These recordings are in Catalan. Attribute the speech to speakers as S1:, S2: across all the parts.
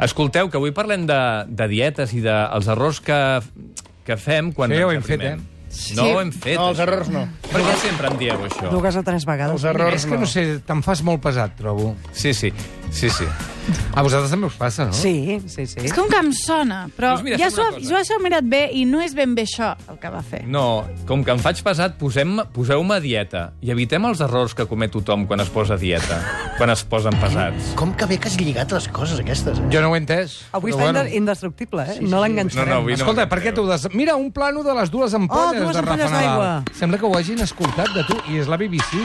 S1: Escolteu, que avui parlem de, de dietes i dels de, els errors que, que fem quan
S2: Sí,
S1: ens
S2: ho hem fet,
S1: aprimem.
S2: eh?
S1: No
S3: Sí.
S1: ho hem fet.
S4: No, els
S1: això.
S4: errors no.
S1: Per què sempre en dieu, això?
S3: Dues o tres vegades.
S4: Els errors
S2: És que no sé, te'n fas molt pesat, trobo.
S1: Sí, sí, sí, sí.
S2: A vosaltres també us passa, no?
S3: Sí, sí, sí.
S5: És com que em sona, però
S1: Doncs mira,
S5: ja
S1: fem
S5: s'ho
S1: una
S5: ha-
S1: cosa.
S5: jo això ho he mirat bé i no és ben bé això el que va fer.
S1: No, com que em faig pesat, posem, poseu-me a dieta i evitem els errors que comet tothom quan es posa a dieta, quan es posen pesats.
S4: Com que bé que has lligat les coses aquestes, eh?
S2: Jo no ho he entès.
S3: Avui
S2: però
S3: està bueno. indestructible, eh? Sí, sí, no l'enganxarem.
S1: No, no, avui-
S2: Escolta, per què t'ho des... Mira, un plano de les dues ampolles
S3: Oh, dues
S2: de Rafa
S3: ampolles
S2: Nadal.
S3: d'aigua.
S2: Sembla que ho hagin escoltat de tu, i és la BBC.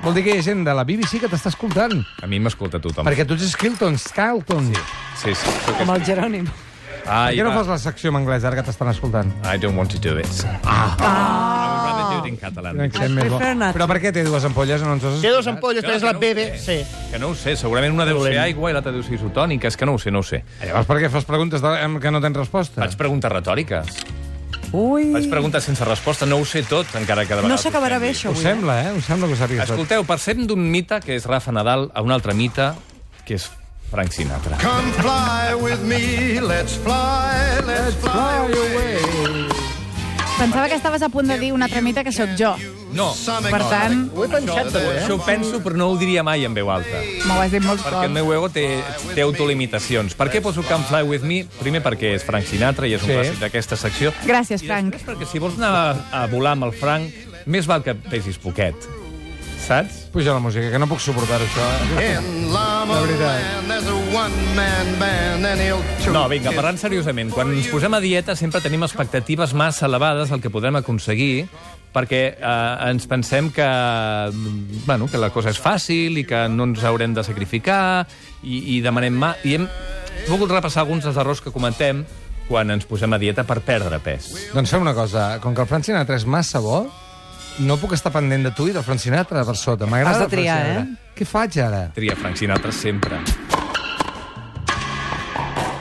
S2: Vol dir que hi ha gent de la BBC que t'està escoltant.
S1: A mi m'escolta tothom.
S2: Perquè tu ets Skilton, Skilton. Sí.
S1: Sí, sí. sóc
S3: Amb el
S1: així.
S3: Jerònim.
S2: Per
S1: Ai,
S2: què no
S1: va.
S2: fas la secció en anglès, ara que t'estan escoltant?
S1: I don't want to do this. Ah. I would rather do it in Catalan.
S2: Accent més bo.
S3: prefer not.
S2: Però per què té dues ampolles? No ens has
S4: Té dos
S2: explicat?
S4: ampolles,
S1: Jo
S4: tres
S1: no
S4: la
S1: ho
S4: bebe. Sí.
S1: sé. Que no ho sé, segurament una deu ser aigua i l'altra deu ser isotònica, és que no ho sé, no ho sé.
S2: Llavors, per què fas preguntes de... em- que no tens resposta?
S1: Faig preguntes retòriques.
S3: Ui,
S1: Faig preguntes sense resposta, no ho sé tot, encara que de
S3: no
S1: vegades
S3: s'acabarà
S1: ho
S3: bé,
S1: sembli.
S3: això,
S2: Ho
S3: avui.
S2: sembla, eh? Ho sembla que ho sàpigues tot.
S1: Escolteu, passem d'un mite, que és Rafa Nadal, a un altre mite, que és Frank Sinatra.
S6: Come fly with me, let's fly, let's fly away.
S5: Pensava que estaves a punt de dir una altra mita que sóc jo.
S1: No,
S5: Per tant,
S4: Ho he pensat, també, eh?
S1: això ho penso, però no ho diria mai en veu alta.
S5: m'ho has dit molts
S1: Perquè el
S5: cops.
S1: meu ego té, té autolimitacions. Per què poso Can Fly With Me? Primer perquè és Frank Sinatra i és un
S2: Sí.
S1: clàssic d'aquesta secció.
S5: Gràcies,
S1: I
S5: Frank.
S1: després perquè si vols anar a, a volar amb el Frank, més val que pesis poquet. Saps?
S2: Puja la música, que no puc suportar això. eh?
S6: In Llama
S2: La veritat.
S6: Land, there's a one-man band, and he'll choose
S1: No, vinga, parlant seriosament, quan ens posem a dieta sempre tenim expectatives massa elevades al que podrem aconseguir perquè eh, ens pensem que, mm, bueno, que la cosa és fàcil i que no ens haurem de sacrificar i, i demanem... Ma I hem volgut repassar alguns dels errors que comentem quan ens posem a dieta per perdre pes.
S2: Doncs fem una cosa, com que el Frank Sinatra és massa bo, no puc estar pendent de tu i del Frank Sinatra per sota. M'agrada
S3: Has de
S2: el Frank
S3: triar, eh?
S2: Sinatra. Què faig ara?
S1: Tria Frank Sinatra sempre.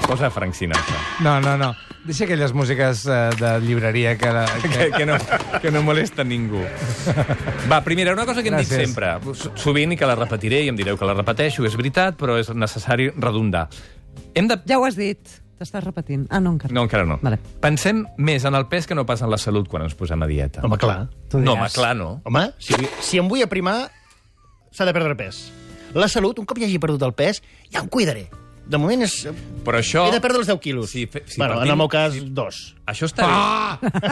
S1: Posa Frank Sinatra.
S2: No, no, no. Deixa aquelles músiques eh, de llibreria que...
S1: que,
S2: que...
S1: que, no, que no molesta ningú. Va, primera, una cosa que hem dit
S2: Gràcies.
S1: sempre, so- sovint, i que la repetiré, i em direu que la repeteixo, és veritat, però és necessari redundar. Hem de...
S3: Ja ho has dit. T'estàs repetint. Ah, no, encara.
S1: No, encara no.
S3: Vale.
S1: Pensem més en el pes que no pas en la salut quan ens posem a dieta.
S4: Home, clar.
S3: Tu
S1: no, home,
S3: diràs.
S1: clar, no.
S4: Home, si, si em vull aprimar, s'ha de perdre pes. La salut, un cop ja hagi perdut el pes, ja em cuidaré. De moment és...
S1: Però això...
S4: He de perdre els 10 quilos.
S1: Si fe- si
S4: bueno,
S1: partim-
S4: en el meu cas, dos.
S1: Això està bé.
S4: Ah!
S2: Ah!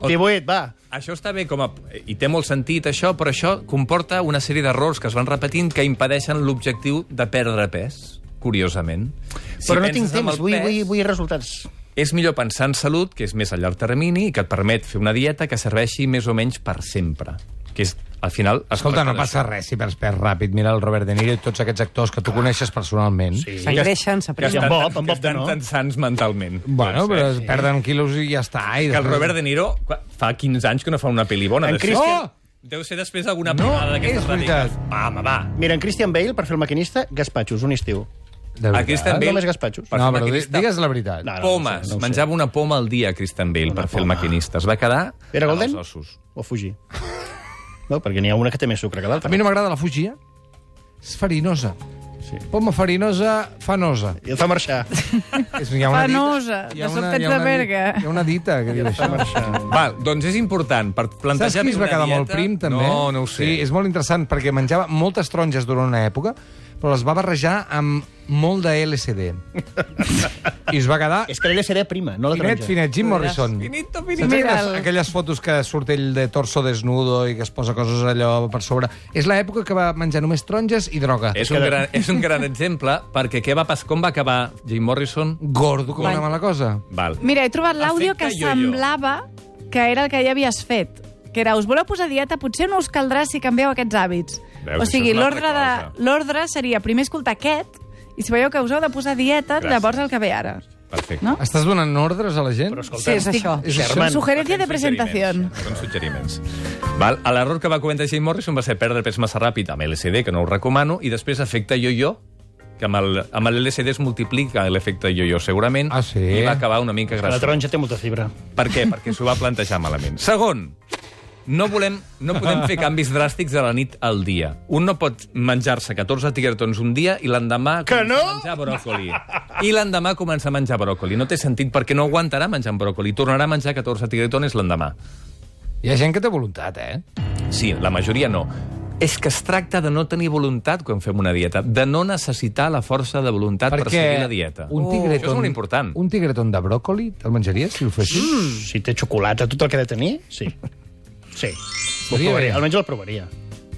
S1: O-
S4: 18, va.
S1: Això està bé com a... i té molt sentit això, però això comporta una sèrie d'errors que es van repetint que impedeixen l'objectiu de perdre pes, curiosament. Si
S4: Però no
S1: penses
S4: tinc
S1: en
S4: temps,
S1: el
S4: vull,
S1: pes,
S4: vull, vull resultats.
S1: És millor pensar en salut, que és més a llarg termini, i que et permet fer una dieta que serveixi més o menys per sempre. Que és, al final... es
S2: Escolta, no
S1: tracta
S2: passa
S1: d'això.
S2: res si perds pes ràpid. Mira el Robert De Niro i tots aquests actors que tu coneixes personalment. Sí.
S3: S'engreixen,
S1: Que
S4: Ja.
S3: s'apreixen.
S1: estan,
S4: en Bob, en
S1: que
S4: Bob que
S1: estan
S4: no.
S1: tan sans mentalment.
S2: Bueno,
S1: Tots,
S2: però
S1: eh?
S2: es perden quilos i ja està. I
S1: Que el Robert De Niro qua- fa 15 anys que no fa una pel·li bona.
S4: En
S1: Deu ser-
S4: Christian-
S1: Oh! Deu ser després d'alguna
S2: No,
S1: primada d'aquestes
S2: és veritat.
S1: radicals. Va, home, va.
S4: Mira, en Christian Bale, per fer el maquinista, gaspatxos, un estiu.
S2: De veritat.
S1: Christian Bale...
S4: Només gaspatxos.
S1: per
S2: No,
S1: fer
S2: però di-
S1: maquinista.
S2: digues la veritat.
S4: No,
S1: Pomes.
S4: ho sé, ho sé.
S1: Menjava una poma al dia, Christian Bale, per fer el
S4: poma.
S1: maquinista. Es va quedar
S4: Era
S1: en
S4: Golden?
S1: els ossos.
S4: O Fuji. No, perquè n'hi ha una que té més sucre que l'altra.
S2: A mi no m'agrada la fugia. És farinosa.
S4: Sí.
S2: Poma farinosa, fanosa.
S4: I et fa marxar.
S2: És, hi ha una dita-
S5: Fanosa,
S2: hi ha
S5: de
S2: una- hi
S5: sobte
S2: ha
S5: ets de
S2: una di-
S5: Berga.
S2: Hi ha una dita que diu això.
S1: Val, doncs és important, per plantejar
S2: Saps qui es
S1: bé
S2: va
S1: una
S2: quedar
S1: dieta...
S2: molt prim, també?
S1: No, no ho sé.
S2: Sí, és molt interessant, perquè menjava moltes taronges durant una època, però les va barrejar amb molt de LSD. I es va quedar
S4: És que l'ella seria prima, no la
S2: finet,
S4: taronja.
S2: finet, Jim Morrison.
S1: Finito,
S2: Saps
S1: finito.
S2: aquelles, aquelles fotos que surt ell de torso desnudo i que es posa coses allò per sobre? És l'època que va menjar només taronges i droga.
S1: És un, gran, és un gran exemple, perquè què va pas, com va acabar Jim Morrison?
S2: Gordo com una
S3: Van-
S2: mala cosa.
S1: Val.
S5: Mira, he trobat l'àudio que
S1: Efecte yo-yo.
S5: semblava que era el que ja havies fet. Que era, us voleu posar a dieta? Potser no us caldrà si canvieu aquests hàbits.
S1: Veus,
S5: o sigui,
S1: això és una altra
S5: l'ordre de-
S1: cosa.
S5: l'ordre seria primer escoltar aquest, i si veieu que us heu de posar a dieta,
S1: Gràcies.
S5: llavors el que ve ara.
S1: Perfecte.
S5: No?
S2: Estàs donant ordres a la gent?
S4: Però escolta,
S3: Sí, és això.
S2: És això?
S4: Sherman.
S5: Sugerencia de Doncs
S1: Són suggeriments,
S5: presentación.
S1: Són suggeriments. Val? L'error que va cometre Jim Morrison va ser perdre pes massa ràpid amb LSD, que no ho recomano, i després efecte yo-yo, que amb el- amb l'LSD es multiplica l'efecte yo-yo, segurament,
S2: Ah, sí?
S1: i va acabar una mica
S4: La
S1: grassós.
S4: taronja té molta fibra.
S1: Per què? Perquè s'ho va plantejar malament. Segon, No, volem, no podem fer canvis dràstics de la nit al dia. Un no pot menjar-se 14 tigertons un dia i l'endemà
S4: Que
S1: comença
S4: no?
S1: a menjar bròcoli. I l'endemà comença a menjar bròcoli. No té sentit perquè no aguantarà menjant bròcoli. Tornarà a menjar 14 tigertons l'endemà.
S2: Hi ha gent que té voluntat, eh?
S1: Sí, la majoria no. És que es tracta de no tenir voluntat quan fem una dieta, de no necessitar la força de voluntat per seguir la dieta. Oh,
S2: Un tigreton,
S1: Això és molt important.
S2: Un tigreton de bròcoli, te'l menjaries si ho fessis?
S4: Si té xocolata, tot el que ha de tenir, sí. Sí. Ho
S2: Seria
S4: provaria,
S2: bé.
S4: almenys el provaria.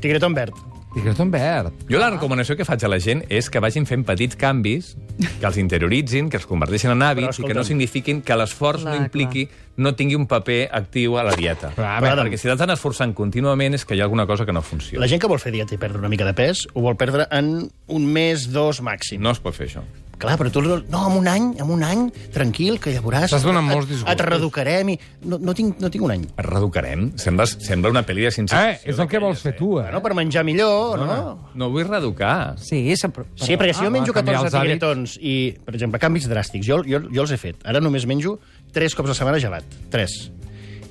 S4: Tigretón verd.
S1: Mm.
S2: Tigreton verd.
S1: Jo la recomanació que faig a la gent és que vagin fent petits canvis, que els interioritzin, que els converteixin en
S4: Però,
S1: hàbits i
S4: escolta'm.
S1: que no signifiquin que l'esforç no
S3: Clar,
S1: impliqui, no tingui un paper actiu a la dieta.
S2: Clar, a
S1: Clar,
S4: veure.
S1: perquè si t'estan esforçant contínuament és que hi ha alguna cosa que no funciona.
S4: La gent que vol fer dieta i perdre una mica de pes, ho vol perdre en un mes, dos màxim.
S1: No es pot fer això.
S4: Clar, però tu... No, en un any, en un any, tranquil, que ja veuràs...
S2: Estàs donant
S4: et-
S2: molts disgustos.
S4: Et reeducarem i... No, no, tinc, no tinc un any.
S1: Et reeducarem? Sembles, sembla una pel·li de ciència
S2: Eh, és el que vols fer tu, eh?
S4: Bueno, per menjar millor, no? no?
S1: No vull reeducar.
S3: Sí, s'apro...
S4: Sí, perquè si jo menjo
S2: va, canviar
S4: 14
S2: els hàbits.
S4: tigretons i, per exemple, canvis dràstics, jo, jo, jo els he fet. Ara només menjo 3 cops a setmana gelat. 3.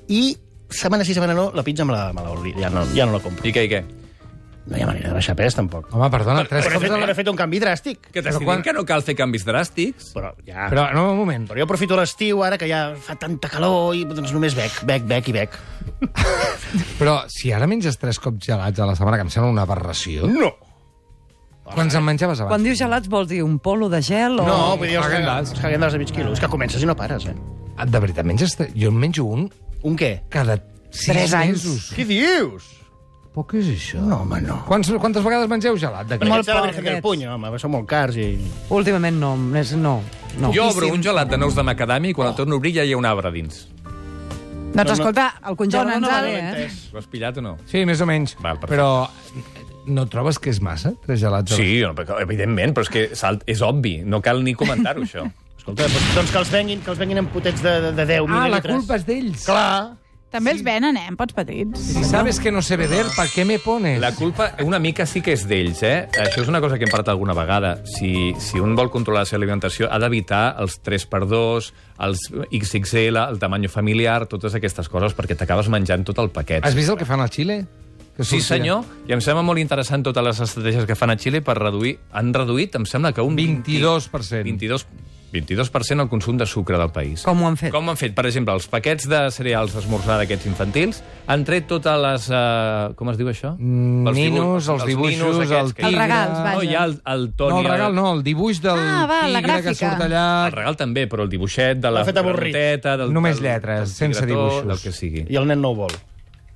S4: I setmana sí, setmana no, la pizza me la, me la obli- ja, no, ja no la compro.
S1: I què, i què?
S4: No hi ha manera de baixar pes, tampoc.
S2: Home, perdona, tres
S4: Però he,
S2: cops...
S4: fet,
S2: a
S4: però
S2: la...
S4: he fet un canvi dràstic.
S1: Que
S2: Però
S1: t'estic
S2: quan-
S1: quan... que no cal fer canvis dràstics?
S4: Però ja... Però,
S2: Però, no, un moment.
S4: però jo aprofito l'estiu, ara que ja fa tanta calor, i doncs només bec, bec, bec i bec.
S2: Però si ara menges tres cops gelats a la setmana, que em sembla una
S1: Mm.
S2: aberració...
S4: No!
S2: Quants en menjaves abans?
S3: Quan dius gelats vols dir un polo de gel o...
S4: No, vull dir, els
S2: Häagen-Dazs.
S4: Häagen-Dazs. els Häagen-Dazs de mig quilo. És que comences i no pares, eh?
S2: Ah, De veritat, menges... tre- Jo en menjo un
S4: Un què?
S2: cada sis
S3: Tres anys.
S2: mesos.
S4: Què dius?
S2: Però què és això?
S4: No, home, no.
S2: Quants, quantes vegades mengeu gelat? De
S4: Molt
S3: Molt
S4: poc,
S3: poc,
S4: Virgen del
S3: aquests.
S4: Puny, home, són molt cars i...
S3: Últimament no, és no. no.
S1: Jo obro un gelat de nous de macadàmia i quan el torno a obrir ja hi ha un arbre dins.
S5: Doncs escolta,
S3: El congelador no
S5: dona'ns
S3: va
S5: el-
S3: bé, eh?
S1: Ho has pillat o no?
S2: Sí, més o menys.
S1: Val, perfecte.
S2: però no trobes que és massa, tres gelats? a la-
S1: Sí, no, perquè- evidentment, però és que salt, és obvi. No cal ni comentar-ho, això.
S4: Escolta, doncs, doncs que els venguin, que els venguin en potets de, de, de 10
S2: Ah, la
S4: mil·lilitres.
S2: culpa és d'ells.
S4: Clar.
S5: També els venen, eh, en pots petits.
S2: Si sabes que no sé beber, per què me pones?
S1: La culpa una mica sí que és d'ells, eh? Això és una cosa que hem parlat alguna vegada. Si, si un vol controlar la seva alimentació, ha d'evitar els 3x2, els XXL, el tamany familiar, totes aquestes coses, perquè t'acabes menjant tot el paquet.
S2: Has vist el que fan al Xile? Que
S1: Sí,
S2: sortien-
S1: senyor, i em sembla molt interessant totes les estratègies que fan a Xile per reduir... Han reduït, em sembla que un
S2: 22%.
S1: 22, 22% el consum de sucre del país.
S3: Com ho han
S2: Eh.
S3: fet?
S1: Com han fet, per exemple, els paquets de cereals d'esmorzar d'aquests infantils, han tret totes les... Uh, com es diu això?
S2: Mm,
S1: Els dibuix-
S2: ninos, els dibuixos,
S1: aquests
S2: el
S1: que-
S2: tigre...
S5: Els regals,
S1: No,
S5: vaja.
S1: hi ha el, el Toni...
S2: No, el regal no, el dibuix del
S5: Ah, val, la
S2: tigre que
S5: gràfica.
S2: surt allà...
S1: El regal també, però el dibuixet de la
S4: L'ha fet avorrit.
S1: garroteta... Del,
S2: Només
S1: del-
S2: lletres,
S1: del
S2: sense
S1: tigretó,
S2: dibuixos.
S1: Del que sigui.
S4: I el nen no ho vol.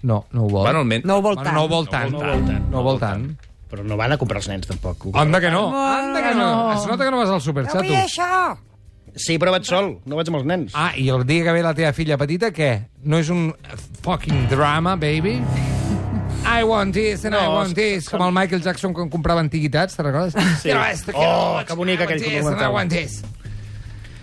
S2: No, no ho vol.
S1: Bueno, almenys...
S3: No ho vol
S2: Bueno,
S3: tant.
S2: no ho vol tant.
S4: No ho vol tant.
S2: No ho vol tant.
S4: Però no van a comprar els nens, tampoc.
S2: Anda que no, anda que no. Es nota que no vas al superxato.
S4: Sí, però vaig sol, no vaig amb els nens.
S2: Ah, i el dia que ve la teva filla petita, què? No és un fucking drama, baby? I want this and I
S4: No,
S2: want this. Com el Michael Jackson quan comprava antiguitats, te'n recordes?
S4: Sí.
S2: Quiero esto,
S4: Oh,
S2: quiero
S4: que bonic
S2: I
S4: aquell
S2: want this
S4: documental.
S2: and I want this.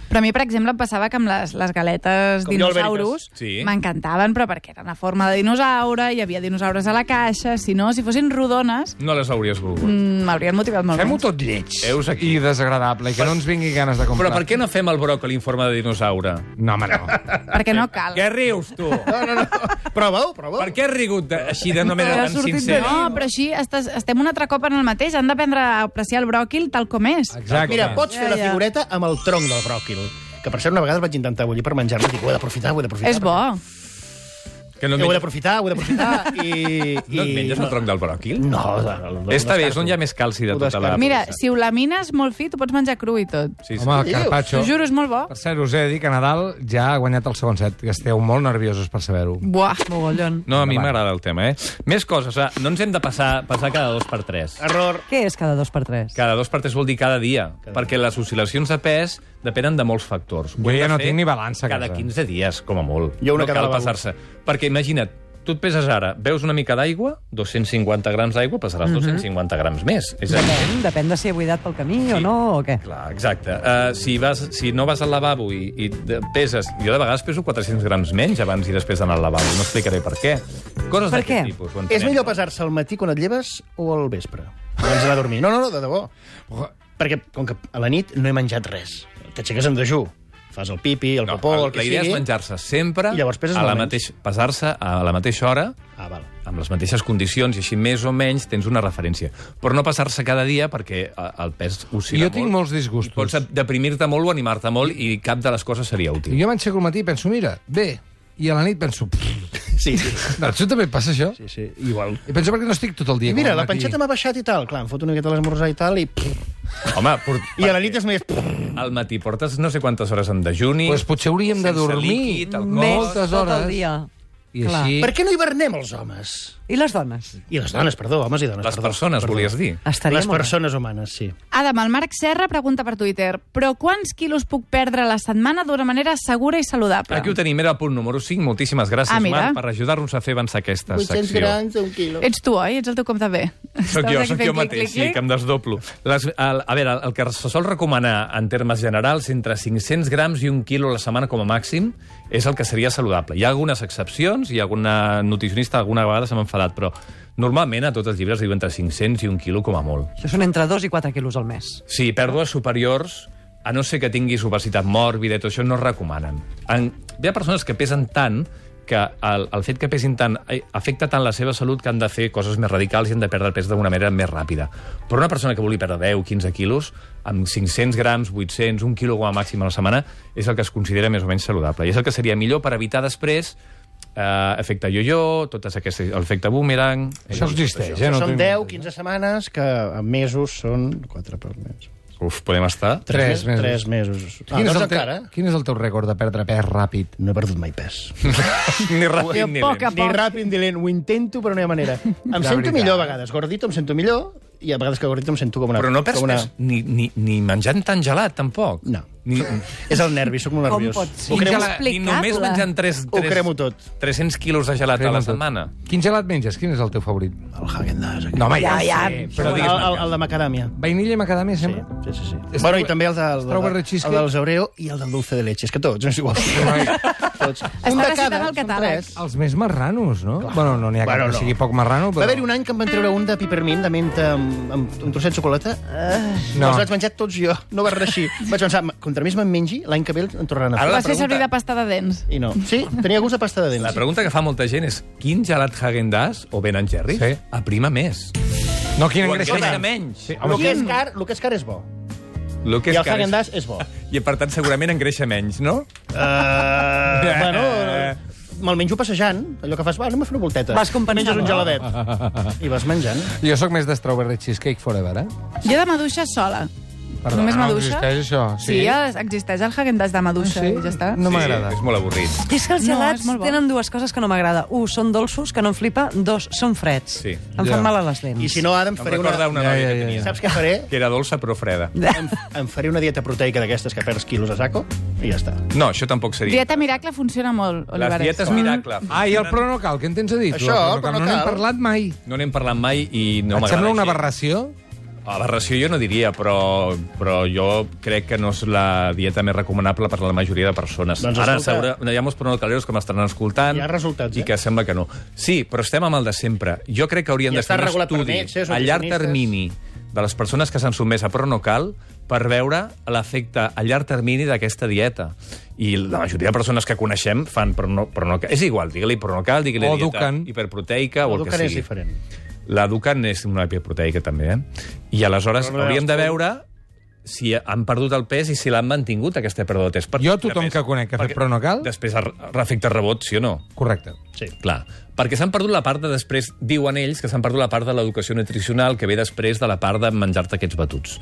S5: Però a mi, per exemple, em passava que amb les, les galetes
S4: Com jo,
S5: dinosaures
S1: albèricas. Sí.
S5: m'encantaven, però perquè eren a forma de dinosaure, hi havia dinosaures a la caixa, si no, si fossin rodones,
S1: No les hauries volgut.
S5: mm, m'haurien motivat molt
S2: Fem-ho
S5: més.
S2: tot lleig
S1: Heus aquí.
S2: i desagradable, i que no ens vingui ganes de comprar.
S1: Però per què no fem el bròcoli en forma de dinosaure?
S2: No, home, no.
S1: eh?
S5: Perquè no cal.
S1: Què rius, tu?
S4: No, no, no. Prova-ho, prova-ho.
S1: Per què has rigut de, així d'una manera tan
S3: Haurà sortit de
S1: sincera?
S5: No, però així estàs, estem un altre cop en el mateix. Han d'aprendre a apreciar el bròquil tal com és.
S2: Exacte.
S4: Mira, pots fer
S3: Ja,
S4: la
S3: ja.
S4: figureta amb el tronc del bròquil. Que, per cert, una vegada el vaig intentar bullir per menjar-lo. Dic, ho he d'aprofitar, ho he d'aprofitar. Eh,
S5: És bo.
S1: Que no,
S4: Ho he
S1: menges,
S4: d'aprofitar, ho he d'aprofitar. I,
S1: no et menges el tronc del bròquil?
S4: No, no, no, no,
S1: Està bé,
S4: descarto.
S1: és on hi ha més calci de
S4: Ho
S1: tota la...
S4: descarto.
S5: Mira,
S1: peça.
S5: si ho lamines molt fi, t'ho pots menjar cru i tot.
S1: Sí, sí.
S2: Home, el
S4: Dius?
S2: Carpaccio...
S5: T'ho juro, és molt bo.
S2: Per cert, us he de dir que Nadal ja ha guanyat el segon set, que esteu molt nerviosos per saber-ho.
S5: Buah.
S3: Mogollon.
S1: No, a mi m'agrada el tema, eh? Més coses, ah, no ens hem de passar, passar cada dos per tres.
S4: Error.
S3: Què és cada dos per tres?
S1: Cada dos per tres vol dir cada dia, perquè les oscil·lacions de pes depenen de molts factors. Ho
S2: Jo
S1: hem
S2: ja
S1: de
S2: no
S1: fer
S2: tinc ni balança a
S1: Cada
S2: casa.
S1: 15 dies, com a molt.
S4: Jo una
S1: no
S4: cada
S1: cal
S4: vegada.
S1: passar-se. Perquè imagina't, tu et peses ara, veus una mica d'aigua, 250 grams d'aigua,
S2: Mhm.
S1: pesaràs 250 grams més. És a dir,
S3: Depèn, depèn de si he buidat pel camí o no, o què.
S1: Clar, exacte. Uh, si, vas, si no vas al lavabo i, i de- peses... Jo de vegades peso 400 grams menys abans i després d'anar al lavabo. No explicaré per què. Coses
S3: Per
S1: d'aquest
S3: què?
S1: tipus. ho
S4: És
S1: entenem.
S4: millor pesar-se al matí quan et lleves o al vespre? Abans d'anar a dormir. No, no, no, de debò. Perquè, com que a la nit no he menjat res. T'aixeques en dejú. Fas Fas el pipi, el popó, el que
S1: la idea
S4: sigui.
S1: és menjar-se sempre
S4: I llavors peses
S1: a la
S4: molt
S1: mateix, pesar-se a la mateixa hora
S4: Ah, val.
S1: amb les mateixes condicions i així més o menys tens una referència. Però no passar-se cada dia perquè eh, el pes oscil·la
S2: Jo tinc molts disgustos.
S1: Pots deprimir-te molt o animar-te molt i cap de les coses seria útil.
S2: Jo m'aixeco al matí i penso, mira, bé, i a la nit penso... "Pff".
S4: Sí, sí,
S2: A tu també et passa això?
S4: sí, sí, igual.
S2: I penso perquè no estic tot el dia.
S4: I mira,
S2: com al
S4: la
S2: matí.
S4: panxeta m'ha baixat i tal. Clar, em foto una miqueta a l'esmorzar i tal, i...
S1: Home, port...
S4: I a la nit és més...
S1: al matí portes no sé quantes hores en dejuni...
S2: Pues Doncs potser hauríem de
S1: sense
S2: dormir
S1: líquid, alcohol.
S2: moltes
S3: tot
S2: hores.
S3: el dia.
S2: I
S3: Clar.
S2: així...
S4: Per què no hivernem els homes?
S3: I les dones?
S4: I les dones, perdó, homes i dones.
S1: Les
S4: perdó,
S1: persones,
S4: perdó.
S1: volies dir.
S2: Ah.
S3: Estaria
S4: les
S3: molt bé.
S4: persones humanes, sí.
S5: Adam, el Marc Serra pregunta per Twitter però quants quilos puc perdre a la setmana d'una manera segura i saludable?
S1: Aquí ho tenim, era el punt número 5. Moltíssimes gràcies,
S5: Ah, mira.
S1: Marc, per ajudar-nos a fer avançar aquesta secció.
S4: un quilo.
S5: Ets tu, oi? Ets el teu compte B.
S1: Soc jo, soc jo mateix, sí, que em desdoblo. Les, el, a veure, el que se sol recomanar en termes generals, entre 500 grams i un quilo a la setmana com a màxim, és el que seria saludable. Hi ha algunes excepcions, i alguna nutricionista alguna vegada s'ha enfadat, però normalment a tots els llibres diu entre 500 i un quilo com a molt.
S3: Això són entre 2 i 4 quilos al mes.
S1: Sí, pèrdues superiors, a no ser que tinguis obesitat mòrbida i tot això, no es recomanen. En, hi ha persones que pesen tant que el, el fet que pesin tant eh, afecta tant la seva salut que han de fer coses més radicals i han de perdre el pes d'una manera més ràpida. Però una persona que vulgui perdre 10, 15 quilos, amb 500 grams, 800, un quilo com a màxim a la setmana, és el que es considera més o menys saludable. I és el que seria millor per evitar després eh, efecte yo-yo, totes aquestes, l'efecte boomerang...
S2: Això existeix, eh?
S4: Són
S2: tinc-
S4: 10, 15 setmanes, que en mesos són 4 per mes.
S1: Uf, podem estar...
S2: Tres mesos.
S4: 3 mesos. Ah,
S2: Quin, és
S4: doncs
S2: el
S4: encara.
S2: teu, quin és el teu rècord de perdre pes ràpid?
S4: No he perdut mai pes.
S1: ni ràpid ni
S5: poc
S1: lent.
S5: a
S4: Ni
S5: poc.
S4: ràpid ni lent, ho intento, però no hi ha manera. Em
S2: La
S4: sento
S2: veritat.
S4: millor a vegades. Gordito em sento millor, i a vegades que gordito em sento com una...
S1: Però no perds
S4: com una...
S1: pes ni, ni, ni menjant tan gelat, tampoc.
S4: No.
S1: Ni,
S4: És el nervi, sóc molt
S3: Com
S4: nerviós.
S3: pot ser?
S4: Ho cremo,
S5: Ingela-
S1: ni només
S5: Explicable.
S1: menjant 3,
S4: Ho cremo tot.
S1: 300 quilos de gelat a la setmana.
S2: Quin gelat menges? Quin és el teu favorit?
S4: El Häagen-Dazs.
S2: No, home, ja, ja.
S4: Però el, el, el de macadàmia.
S2: Vainilla i macadàmia,
S4: Sí,
S2: sempre?
S4: sí, sí. sí. Bueno, i també el, de, el,
S2: Strawberry
S4: de, el
S2: cheesecake.
S4: dels Oreo i el del dulce de leche. És que tots, és igual. tots. Un de
S5: recitant
S4: cada,
S5: el
S4: són
S5: catàleg.
S4: tres.
S2: Els més marranos, no? Bueno, no n'hi ha
S4: Bueno,
S2: cap
S4: no.
S2: que sigui poc marrano,
S4: Va
S2: però...
S4: haver-hi un any que em van treure un de pipermint de menta amb, amb un trosset de xocolata. Uh,
S2: No.
S4: Els vaig menjar tots jo. No va reeixir. vaig pensar, "Ma, contra més me'n mengi, l'any que ve en tornaran a
S1: Ara
S4: fer.
S1: la
S5: Vas fer servir
S1: pregunta-
S5: de pasta de dents.
S4: I no. Sí, tenia gust de pasta
S1: La
S4: de dents.
S1: pregunta que fa molta gent és quin gelat Häagen-Dazs o Ben Jerry's
S2: Sí.
S1: aprima més?
S2: No, quin
S1: O
S2: engreixa
S1: engreixa
S2: menys.
S1: menys. Sí.
S4: El que, és car, el que és car és bo.
S1: Lo que
S4: I
S1: és
S4: el
S1: car és...
S4: Häagen-Dazs és bo.
S1: I per tant segurament engreixa menys, no?
S4: Uh, bueno, me'l menjo passejant, allò que fas, va, anem a fer una volteta.
S3: Vas compensant,
S4: Menges un
S3: no?
S4: geladet. I vas menjant.
S2: Jo sóc més de strawberry cheesecake forever, eh?
S5: Jo de maduixa sola.
S2: Perdona,
S5: Només
S2: ah, no
S5: maduixa?
S2: existeix això,
S5: Sí,
S2: sí. Ah,
S5: ja existeix el Häagen-Dazs de maduixa
S2: Sí?
S5: i ja està.
S2: No
S1: Sí,
S2: m'agrada.
S1: És molt avorrit.
S3: És que els
S5: No,
S3: gelats
S5: és molt
S3: no,
S5: bo.
S3: tenen dues coses que no m'agrada. Un, són dolços, que no em flipa. Dos, són freds.
S1: Sí.
S3: Em
S2: Ja.
S3: fan mal a les dents.
S4: I si no, ara em
S1: Em
S4: faré
S1: recorda
S4: una...
S1: una
S2: Ja,
S1: noia
S2: ja,
S1: que
S2: ja,
S1: tenia.
S4: Saps què faré?
S1: Que era dolça però freda.
S4: Em, em faré una dieta proteica d'aquestes que perds quilos a saco i ja està.
S1: No, això tampoc seria.
S5: Dieta Miracle funciona molt,
S1: Les
S5: Olivares.
S1: dietes miracle.
S2: Ah, i el però no cal, què en tens a dir? tu?
S4: Això,
S2: El
S4: però no
S2: No n'hem
S4: cal.
S2: parlat mai.
S1: No n'hem parlat mai i no
S2: Et
S1: m'agrada.
S2: sembla una
S1: gens.
S2: aberració?
S1: Aberració jo no diria, però, però jo crec que no és la dieta més recomanable per a la majoria de persones.
S4: Doncs
S1: Ara
S4: escolta-
S1: segura, hi ha molts pronocaleros que m'estaran escoltant.
S4: Hi ha resultats,
S1: I
S4: eh?
S1: que sembla que no. Sí, però estem amb el de sempre. Jo crec que hauríem
S4: I
S1: de
S4: està
S1: fer un
S4: regulat per eh,
S1: estudi
S4: metges,
S1: a llarg
S4: nutricionistes.
S1: termini de les persones que s'han sotmès a pronocal per veure l'efecte a llarg termini d'aquesta dieta. I la majoria de persones que coneixem fan prono, pronocal. És igual, digue-li pronocal, digue-li
S2: O
S1: dieta
S2: Dukan.
S1: hiperproteica o el que
S4: L'educar
S1: sigui.
S4: és diferent.
S1: La Dukan és una hiperproteica, també, eh? I aleshores
S4: Però no
S1: hauríem de
S4: veus com-
S1: veure si han perdut el pes i si l'han mantingut, aquesta pèrdua de pes. Per,
S2: Jo a tothom
S1: de pes.
S2: que conec que ha fet
S1: Perquè
S2: pronocal-
S1: Després ha ha efecte rebot, sí o no?
S2: Correcte.
S4: Sí.
S1: Clar, perquè s'han perdut la part de després, diuen ells, que s'han perdut la part de l'educació nutricional que ve després de la part de menjar-te aquests batuts.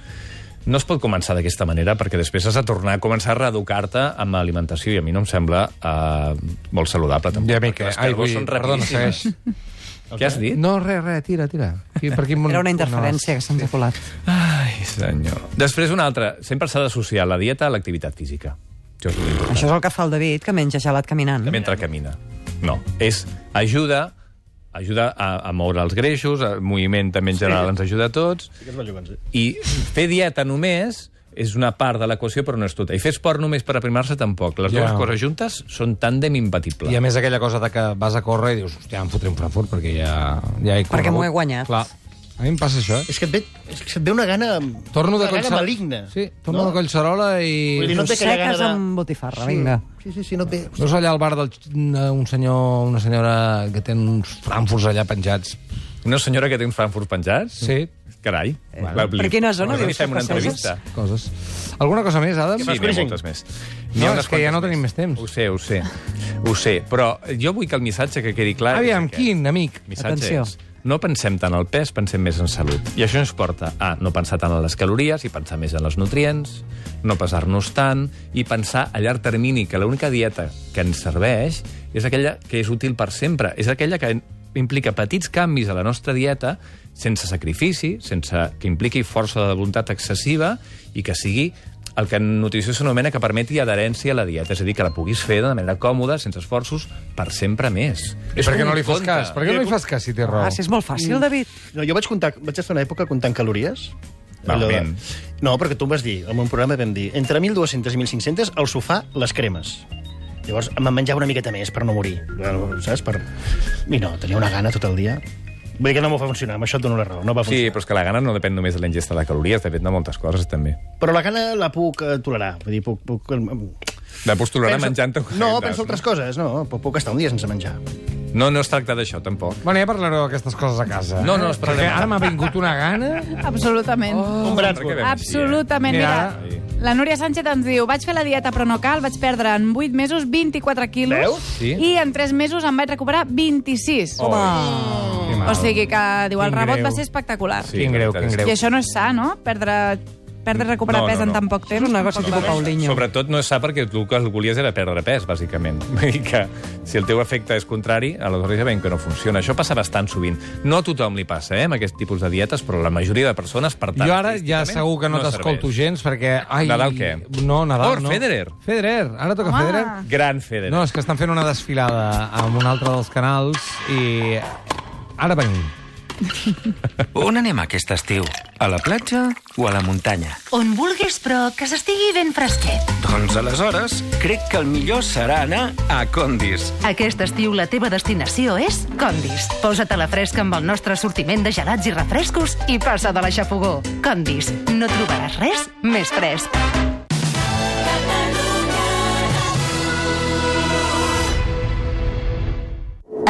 S1: No es pot començar d'aquesta manera perquè després has de tornar a començar a reeducar-te amb alimentació i a mi no em sembla eh, molt saludable tampoc.
S2: Ja,
S1: perquè
S2: mica.
S1: les
S2: Ai,
S1: pèrdues
S2: vull...
S1: són
S2: Perdona,
S1: rapidíssimes.
S2: segueix.
S1: Què has dit?
S2: No, res, res, tira, tira. Qui- Per quin món-
S3: Era una
S2: no,
S3: interferència que se'ns ha colat.
S1: Ai, senyor. Després una altra. Sempre s'ha d'associar la dieta a l'activitat física. Això és l'important.
S3: Això és el que fa el David, que menja gelat caminant.
S1: Mentre camina. No. És ajuda ajuda a, a moure els greixos, el moviment també en general ens ajuda a tots,
S4: Sí que es va jugant, sí.
S1: i fer dieta només és una part de l'equació, però no és tota. I fer esport només per aprimar-se, tampoc. Les
S2: Ja.
S1: dues coses juntes són tàndem imbatible.
S2: I a més aquella cosa de que vas a córrer i dius, hòstia, em fotré un Frankfurt perquè ja, ja he corregut.
S3: Perquè m'ho he guanyat.
S2: Clar. A mi em passa això. eh?
S4: És que et ve, és que et ve una gana...
S2: Torno de
S4: una gana
S2: Collserola...
S4: maligna.
S2: Sí, torno no? de Collserola
S4: Vull dir,
S2: i...
S4: no-
S3: No
S4: et ve aquella
S3: seques
S4: gana de-
S3: amb botifarra, vinga.
S4: Sí, sí, sí, no et ve...
S2: Veus allà al bar del... eh, un senyor, una senyora que té uns frankfurts allà penjats.
S1: Una senyora que té uns Frankfurt penjats?
S2: Sí.
S1: Carai. Eh,
S3: per quina zona
S1: Li
S3: dius
S1: fem
S3: que
S1: una
S3: passeges?
S1: entrevista.
S2: Coses. Alguna cosa més, Adam?
S1: Sí, n'hi ha moltes més. N'hi
S2: No,
S1: ha unes
S2: és que ja
S1: quantes
S2: no tenim més temps.
S1: Ho sé, ho sé. Ho sé, però jo vull que el missatge que quedi clar... és
S2: Aviam,
S1: aquest.
S2: quin amic?
S1: El missatge
S3: Atenció.
S1: és no pensem tant al pes, pensem més en salut. I això ens porta a no pensar tant en les calories i pensar més en els nutrients, no pesar-nos tant i pensar a llarg termini que l'única dieta que ens serveix és aquella que és útil per sempre, és aquella que implica petits canvis a la nostra dieta sense sacrifici, sense que impliqui força de voluntat excessiva i que sigui el que en nutrició s'anomena que permeti adherència a la dieta, és a dir, que la puguis fer de manera còmoda, sense esforços, per sempre més.
S2: I per què no li fas
S1: conte.
S2: cas? Per què no li fas cas si té raó?
S3: Ah, sí, és molt fàcil, David.
S4: No, jo vaig, comptar, vaig estar una època comptant calories.
S1: Valment.
S4: Allò de- No, perquè tu em vas dir, en un programa vam dir, entre 1.200 i 1.500, al sofà, les cremes. Llavors em menjava una miqueta més per no morir, bueno, saps? Per... I no, tenia una gana tot el dia. Vull dir que no m'ho va funcionar, amb això et dono la raó, no va
S1: Sí,
S4: funcionar.
S1: però és que la gana no depèn només de l'ingesta de calories, depèn de moltes coses, també.
S4: Però la gana la puc eh, tolerar. Vull dir, puc... puc...
S1: La pots tolerar menjant-te...
S4: No,
S1: coses,
S4: penso altres coses, no. Puc, puc estar un dia sense menjar.
S1: No, no es tracta d'això, tampoc.
S2: Bueno, ja parlareu d'aquestes coses a casa.
S1: No,
S2: eh?
S1: no, es parlarem
S2: Perquè
S1: a
S2: ara
S1: casa.
S2: m'ha vingut una gana...
S5: Absolutament.
S1: Oh,
S4: Un braç,
S1: perquè ve així, eh?
S5: Absolutament.
S2: Mira.
S5: Mira, la Núria Sánchez ens diu vaig fer la dieta però no cal, vaig perdre en 8 mesos 24 quilos
S4: Veus?
S1: Sí.
S5: i en 3 mesos em vaig recuperar 26.
S1: Oi,
S2: que mal.
S5: O sigui que, diu, el
S2: Quin
S5: rebot
S2: greu.
S5: va ser espectacular.
S1: Sí,
S2: Quin greu,
S1: la veritat
S2: quin
S1: és que-
S2: greu.
S5: I això no és sa, no? Perdre, perdre i recuperar
S1: No, no,
S5: pes en
S1: no.
S5: tan poc temps.
S3: És un negoci
S5: Tampoc
S3: tipus
S5: va bé.
S3: Paulinho.
S1: Sobretot no és sa perquè tu el que volies era perdre pes, bàsicament. Vull dir que si el teu efecte és contrari, aleshores ja veiem que no funciona. Això passa bastant sovint. No a tothom li passa, eh, amb aquest tipus de dietes, però la majoria de persones, per tant...
S2: Jo ara ja segur que no,
S1: no
S2: t'escolto
S1: serveix.
S2: gens, perquè... Ai,
S1: Nadal què?
S2: No, Nadal
S1: Oh,
S2: no.
S1: Federer.
S2: Federer. Ara toca
S5: Home.
S2: Federer.
S1: Gran Federer.
S2: No, és que estan fent una desfilada amb un altre dels canals i... Ara venim.
S7: On anem aquest estiu? A la platja o a la muntanya?
S8: On vulguis, però que s'estigui ben fresquet.
S7: Doncs aleshores crec que el millor serà anar a Condis.
S8: Aquest estiu la teva destinació és Condis. Posa't a la fresca amb el nostre sortiment de gelats i refrescos i passa de la xafogó. Condis, no trobaràs res més fresc.